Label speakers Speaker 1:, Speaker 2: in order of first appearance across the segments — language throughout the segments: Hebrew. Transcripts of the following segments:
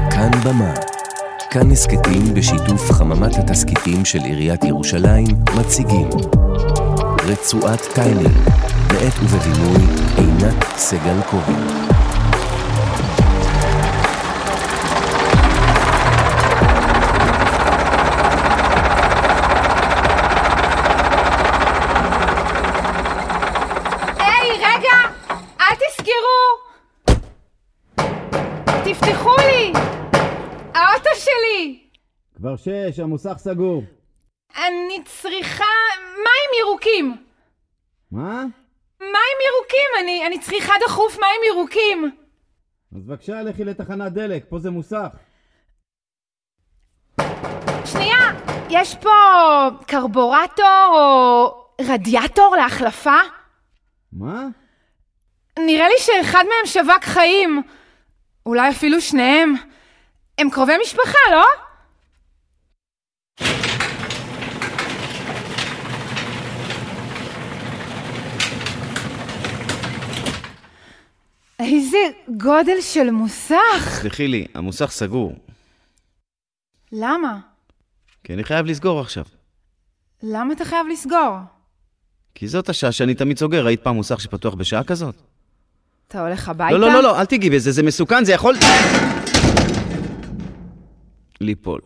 Speaker 1: הבמה. כאן הסכתים בשיתוף חממת התסכיתים של עיריית ירושלים מציגים רצועת טיילר, בעת ובבימוי עינת סגל קובי.
Speaker 2: היי, רגע! אל תסגרו! תפתחו לי! האוטו שלי!
Speaker 3: כבר שש, המוסך סגור.
Speaker 2: אני צריכה מים ירוקים!
Speaker 3: מה?
Speaker 2: מים ירוקים! אני, אני צריכה דחוף מים ירוקים!
Speaker 3: אז בבקשה, לכי לתחנת דלק, פה זה מוסך.
Speaker 2: שנייה! יש פה קרבורטור או רדיאטור להחלפה?
Speaker 3: מה?
Speaker 2: נראה לי שאחד מהם שבק חיים. אולי אפילו שניהם. הם קרובי משפחה, לא? איזה גודל של מוסך!
Speaker 4: סלחי לי, המוסך סגור,
Speaker 2: למה?
Speaker 4: כי אני חייב לסגור עכשיו.
Speaker 2: למה אתה חייב לסגור?
Speaker 4: כי זאת השעה שאני תמיד סוגר, ראית פעם מוסך שפתוח בשעה כזאת?
Speaker 2: אתה הולך הביתה?
Speaker 4: לא, לא, לא, לא, אל תיגעי בזה, זה מסוכן, זה יכול... ליפול.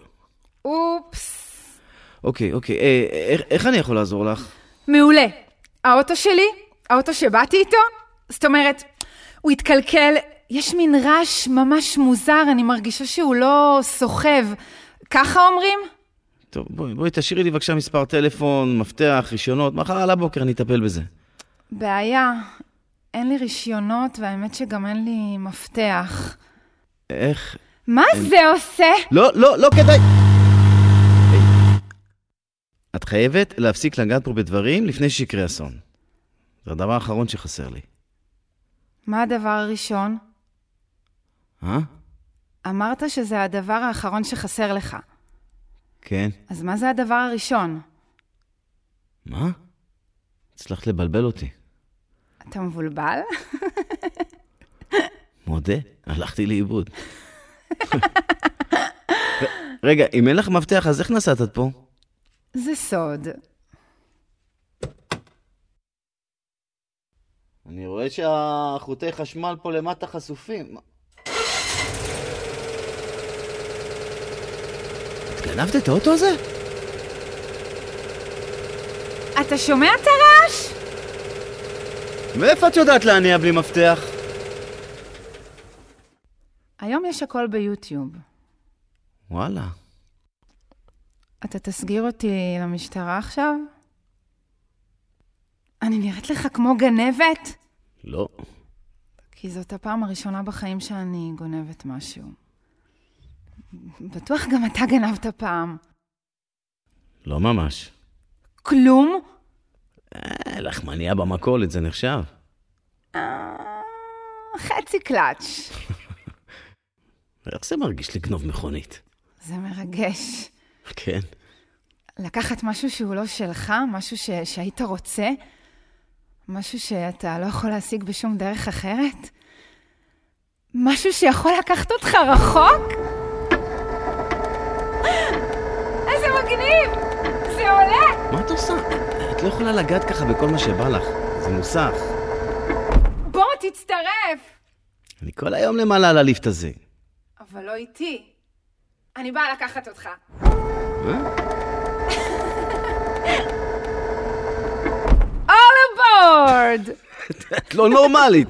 Speaker 2: אופס.
Speaker 4: אוקיי, אוקיי, אה, איך, איך אני יכול לעזור לך?
Speaker 2: מעולה. האוטו שלי, האוטו שבאתי איתו, זאת אומרת, הוא התקלקל, יש מין רעש ממש מוזר, אני מרגישה שהוא לא סוחב. ככה אומרים?
Speaker 4: טוב, בואי, בואי, תשאירי לי בבקשה מספר טלפון, מפתח, רישיונות, מחר על הבוקר אני אטפל בזה.
Speaker 2: בעיה, אין לי רישיונות, והאמת שגם אין לי מפתח.
Speaker 4: איך?
Speaker 2: מה זה עושה?
Speaker 4: לא, לא, לא כדאי! היי, את חייבת להפסיק לגעת פה בדברים לפני שיקרה אסון. זה הדבר האחרון שחסר לי.
Speaker 2: מה הדבר הראשון?
Speaker 4: אה?
Speaker 2: אמרת שזה הדבר האחרון שחסר לך.
Speaker 4: כן.
Speaker 2: אז מה זה הדבר הראשון?
Speaker 4: מה? הצלחת לבלבל אותי.
Speaker 2: אתה מבולבל?
Speaker 4: מודה, הלכתי לאיבוד. ר- רגע, אם אין לך מפתח, אז איך נסעת עד פה?
Speaker 2: זה סוד.
Speaker 4: אני רואה שהחוטי חשמל פה למטה חשופים. את גנבת את האוטו הזה?
Speaker 2: אתה שומע את הרעש?
Speaker 4: מאיפה את יודעת להניע בלי מפתח?
Speaker 2: היום יש הכל ביוטיוב.
Speaker 4: וואלה.
Speaker 2: אתה תסגיר אותי למשטרה עכשיו? אני נראית לך כמו גנבת?
Speaker 4: לא.
Speaker 2: כי זאת הפעם הראשונה בחיים שאני גונבת משהו. בטוח גם אתה גנבת פעם.
Speaker 4: לא ממש.
Speaker 2: כלום?
Speaker 4: אה, לחמניה במכולת, זה נחשב.
Speaker 2: אה, חצי קלאץ'.
Speaker 4: איך זה מרגיש לגנוב מכונית?
Speaker 2: זה מרגש.
Speaker 4: כן.
Speaker 2: לקחת משהו שהוא לא שלך, משהו ש... שהיית רוצה, משהו שאתה לא יכול להשיג בשום דרך אחרת, משהו שיכול לקחת אותך רחוק? איזה מגניב! זה עולה!
Speaker 4: מה את עושה? את לא יכולה לגעת ככה בכל מה שבא לך. זה מוסך.
Speaker 2: בוא, תצטרף!
Speaker 4: אני כל היום למעלה על הליפט הזה.
Speaker 2: אבל לא איתי. אני באה לקחת אותך.
Speaker 4: אה?
Speaker 2: All aboard!
Speaker 4: את לא נורמלית.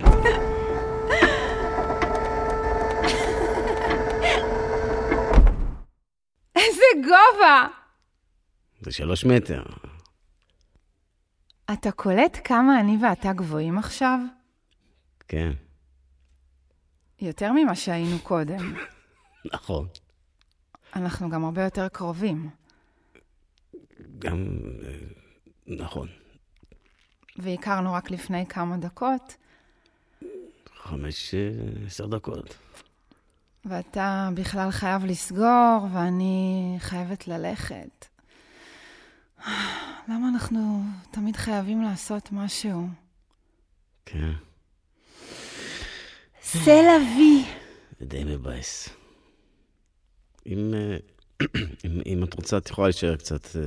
Speaker 2: איזה גובה!
Speaker 4: זה שלוש מטר.
Speaker 2: אתה קולט כמה אני ואתה גבוהים עכשיו?
Speaker 4: כן,
Speaker 2: יותר ממה שהיינו קודם.
Speaker 4: נכון.
Speaker 2: אנחנו גם הרבה יותר קרובים,
Speaker 4: גם... אה, נכון.
Speaker 2: והכרנו רק לפני כמה דקות,
Speaker 4: חמש, אה, עשר דקות.
Speaker 2: ואתה בכלל חייב לסגור, ואני חייבת ללכת. למה אנחנו תמיד חייבים לעשות משהו?
Speaker 4: כן,
Speaker 2: סל אבי.
Speaker 4: זה די מבאס. אם, אה, אם, אם את רוצה, את יכולה להישאר קצת, אה,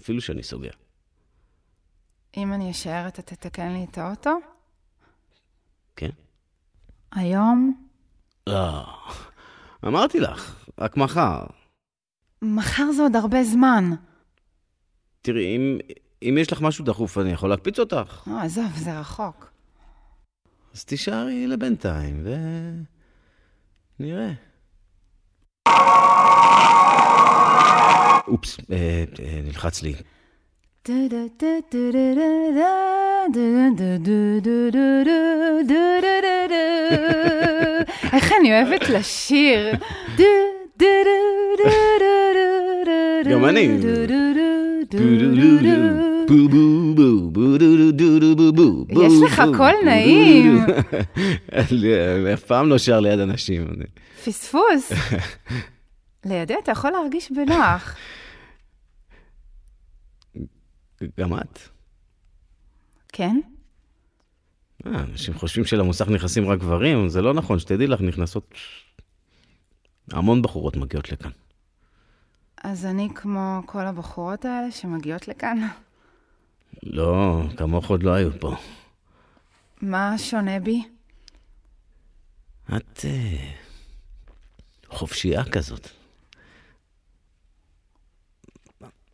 Speaker 4: אפילו שאני סוגר.
Speaker 2: אם אני אשאר, אתה תתקן לי את האוטו?
Speaker 4: כן?
Speaker 2: היום?
Speaker 4: לא. אמרתי לך, רק מחר.
Speaker 2: מחר זה עוד הרבה זמן.
Speaker 4: תראי, אם, אם יש לך משהו דחוף, אני יכול להקפיץ אותך.
Speaker 2: לא, עזוב, זה רחוק.
Speaker 4: אז תישארי לבינתיים, ו... נראה. אופס, אה, אה, נלחץ לי.
Speaker 2: איך אני אוהבת לשיר.
Speaker 4: גם אני. בו בו בו בו דו דו דו דו בו בו בו
Speaker 2: יש לך
Speaker 4: בו,
Speaker 2: קול
Speaker 4: בו, בו,
Speaker 2: נעים.
Speaker 4: דו, דו, דו. אני אף פעם לא שר ליד אנשים. אני-
Speaker 2: פספוס. לידי אתה יכול להרגיש בנוח.
Speaker 4: גם את.
Speaker 2: כן?
Speaker 4: אה, אנשים חושבים שלמוסך נכנסים רק גברים, זה לא נכון, שתדעי לך, נכנסות... המון בחורות מגיעות לכאן.
Speaker 2: אז אני כמו כל הבחורות האלה שמגיעות לכאן.
Speaker 4: לא, כמוך עוד לא היו פה.
Speaker 2: מה שונה בי?
Speaker 4: את אה, חופשייה כזאת.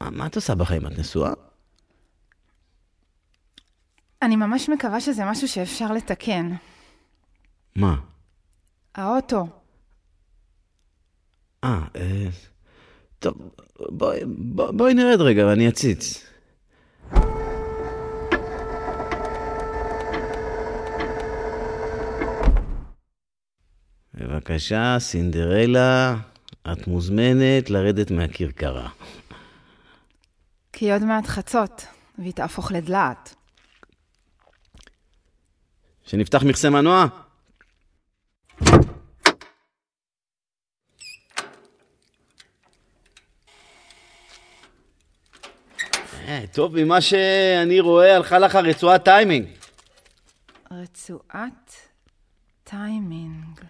Speaker 4: מה- מה את עושה בחיים? את נשואה?
Speaker 2: אני ממש מקווה שזה משהו שאפשר לתקן.
Speaker 4: מה?
Speaker 2: האוטו.
Speaker 4: אה, אה, טוב, בואי, בואי, בואי נרד רגע ואני אציץ. בבקשה, סינדרלה, את מוזמנת לרדת מהכרכרה.
Speaker 2: כי עוד מעט חצות, והיא תהפוך לדלעת.
Speaker 4: שנפתח מכסה מנוע? אה, טוב, ממה שאני רואה, הלכה לך רצועת טיימינג.
Speaker 2: רצועת טיימינג.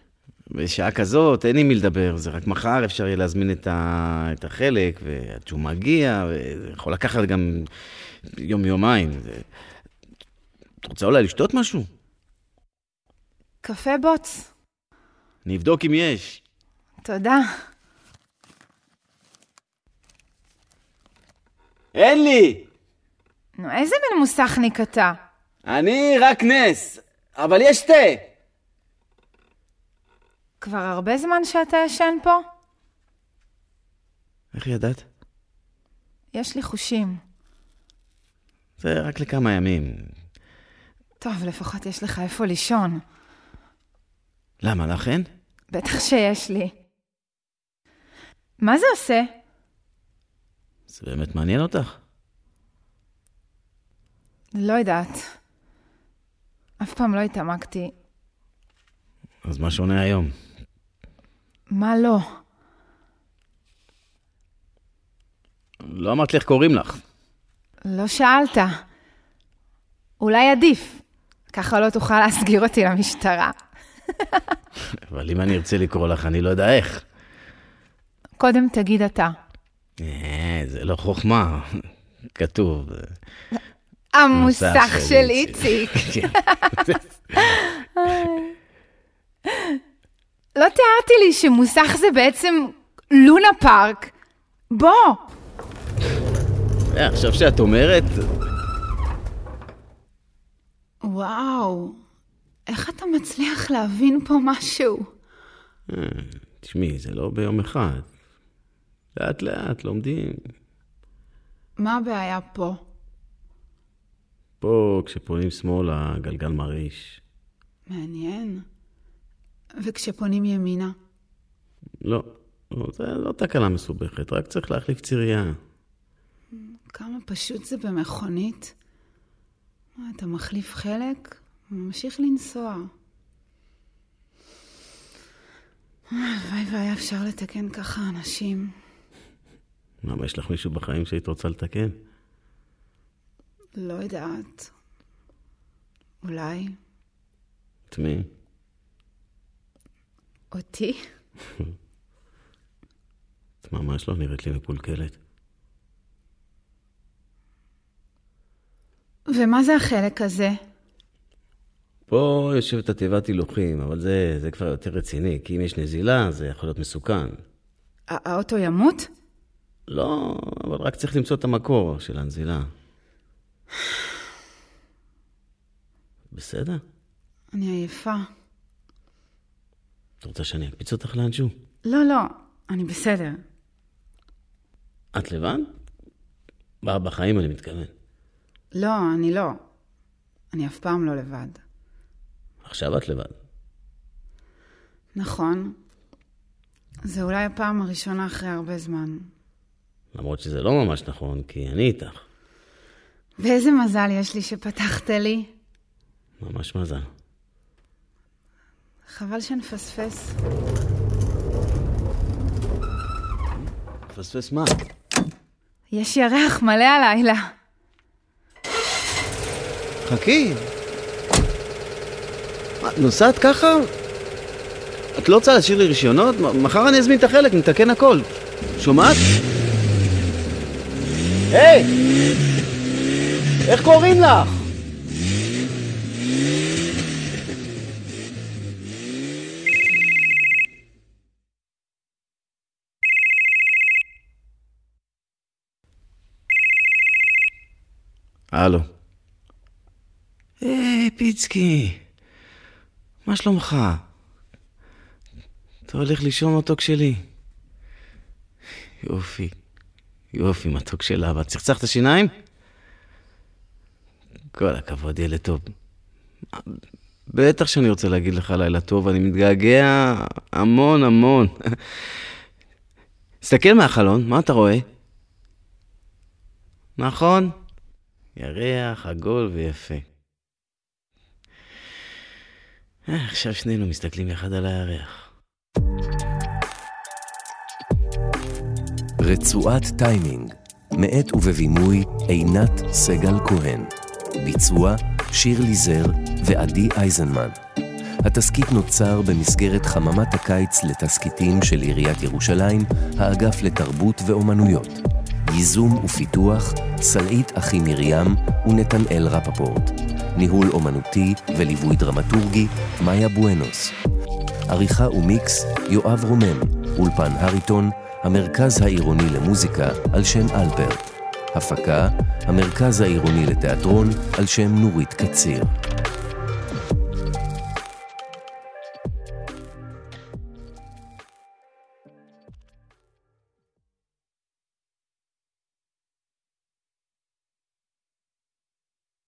Speaker 4: בשעה כזאת, אין עם מי לדבר, זה רק מחר אפשר יהיה להזמין את, ה... את החלק, ועד שהוא מגיע, וזה יכול לקחת גם יום-יומיים. זה... את רוצה אולי לשתות משהו?
Speaker 2: קפה בוץ.
Speaker 4: אני אבדוק אם יש.
Speaker 2: תודה.
Speaker 4: אין לי!
Speaker 2: נו, איזה מין מוסכניק אתה?
Speaker 4: אני רק נס, אבל יש תה.
Speaker 2: כבר הרבה זמן שאתה ישן פה?
Speaker 4: איך ידעת?
Speaker 2: יש לי חושים.
Speaker 4: זה רק לכמה ימים.
Speaker 2: טוב, לפחות יש לך איפה לישון.
Speaker 4: למה, לך אין?
Speaker 2: בטח שיש לי. מה זה עושה?
Speaker 4: זה באמת מעניין אותך?
Speaker 2: לא יודעת. אף פעם לא התעמקתי.
Speaker 4: אז מה שונה היום?
Speaker 2: מה לא?
Speaker 4: לא אמרת לי איך קוראים לך.
Speaker 2: לא שאלת. אולי עדיף. ככה לא תוכל להסגיר אותי למשטרה.
Speaker 4: אבל אם אני ארצה לקרוא לך, אני לא יודע איך.
Speaker 2: קודם תגיד אתה.
Speaker 4: אה, זה לא חוכמה. כתוב. אה,
Speaker 2: המוסך
Speaker 4: של
Speaker 2: של
Speaker 4: איציק.
Speaker 2: איציק.
Speaker 4: כן.
Speaker 2: לא תיארתי לי שמוסך זה בעצם לונה פארק. בוא,
Speaker 4: אה, עכשיו שאת אומרת,
Speaker 2: וואו, איך אתה מצליח להבין פה משהו?
Speaker 4: תשמעי, זה לא ביום אחד. לאט לאט לומדים.
Speaker 2: מה הבעיה פה?
Speaker 4: פה, כשפונים שמאלה, הגלגל מרעיש.
Speaker 2: מעניין. וכשפונים ימינה?
Speaker 4: לא, לא, זה לא תקלה מסובכת, רק צריך להחליף צירייה.
Speaker 2: כמה פשוט זה במכונית. מה, אתה מחליף חלק, ממשיך לנסוע. הלוואי והיה אפשר לתקן ככה אנשים.
Speaker 4: למה, יש לך מישהו בחיים שהיית רוצה לתקן?
Speaker 2: לא יודעת. אולי
Speaker 4: את מי?
Speaker 2: אותי?
Speaker 4: את ממש לא נראית לי מקולקלת.
Speaker 2: ומה זה החלק הזה?
Speaker 4: פה יושבת התיבת הילוכים, אבל זה, זה כבר יותר רציני, כי אם יש נזילה, זה יכול להיות מסוכן.
Speaker 2: הא- האוטו ימות?
Speaker 4: לא, אבל רק צריך למצוא את המקור של הנזילה. בסדר?
Speaker 2: אני עייפה.
Speaker 4: את רוצה שאני אקפיץ אותך לאנשהו?
Speaker 2: לא, לא, אני בסדר.
Speaker 4: את לבד? ב- בחיים אני מתכוון.
Speaker 2: לא, אני לא. אני אף פעם לא לבד.
Speaker 4: עכשיו את לבד.
Speaker 2: נכון. זה אולי הפעם הראשונה אחרי הרבה זמן.
Speaker 4: למרות שזה לא ממש נכון, כי אני איתך.
Speaker 2: ואיזה מזל יש לי שפתחת לי.
Speaker 4: ממש מזל.
Speaker 2: חבל שנפספס.
Speaker 4: פספס מה?
Speaker 2: יש ירח מלא הלילה.
Speaker 4: חכי. מה, את נוסעת ככה? את לא רוצה להשאיר לי רישיונות? מ- מחר אני אזמין את החלק, נתקן הכל. שומעת? היי! איך קוראים לך? הלו. היי, פיצקי, מה שלומך? אתה הולך לישון מתוק שלי. יופי, יופי, מתוק של אבא. צחצחת שיניים? כל הכבוד, ילד טוב. בטח שאני רוצה להגיד לך לילה טוב, אני מתגעגע המון המון. תסתכל מהחלון, מה אתה רואה? נכון, ירח, עגול ויפה. אה, עכשיו שנינו מסתכלים אחד על הירח.
Speaker 1: רצועת טיימינג, מאת ובבימוי עינת סגל כהן. ביצוע שירלי זר ועדי אייזנמן. התסכית נוצר במסגרת חממת הקיץ לתסכיתים של עיריית ירושלים, האגף לתרבות ואומנויות. ייזום ופיתוח, סלעית אחי מרים ונתנאל רפפורט. ניהול אומנותי וליווי דרמטורגי, מאיה בואנוס. עריכה ומיקס, יואב רומם, אולפן הריטון, המרכז העירוני למוזיקה על שם אלפרט. הפקה, המרכז העירוני לתיאטרון על שם נורית קציר.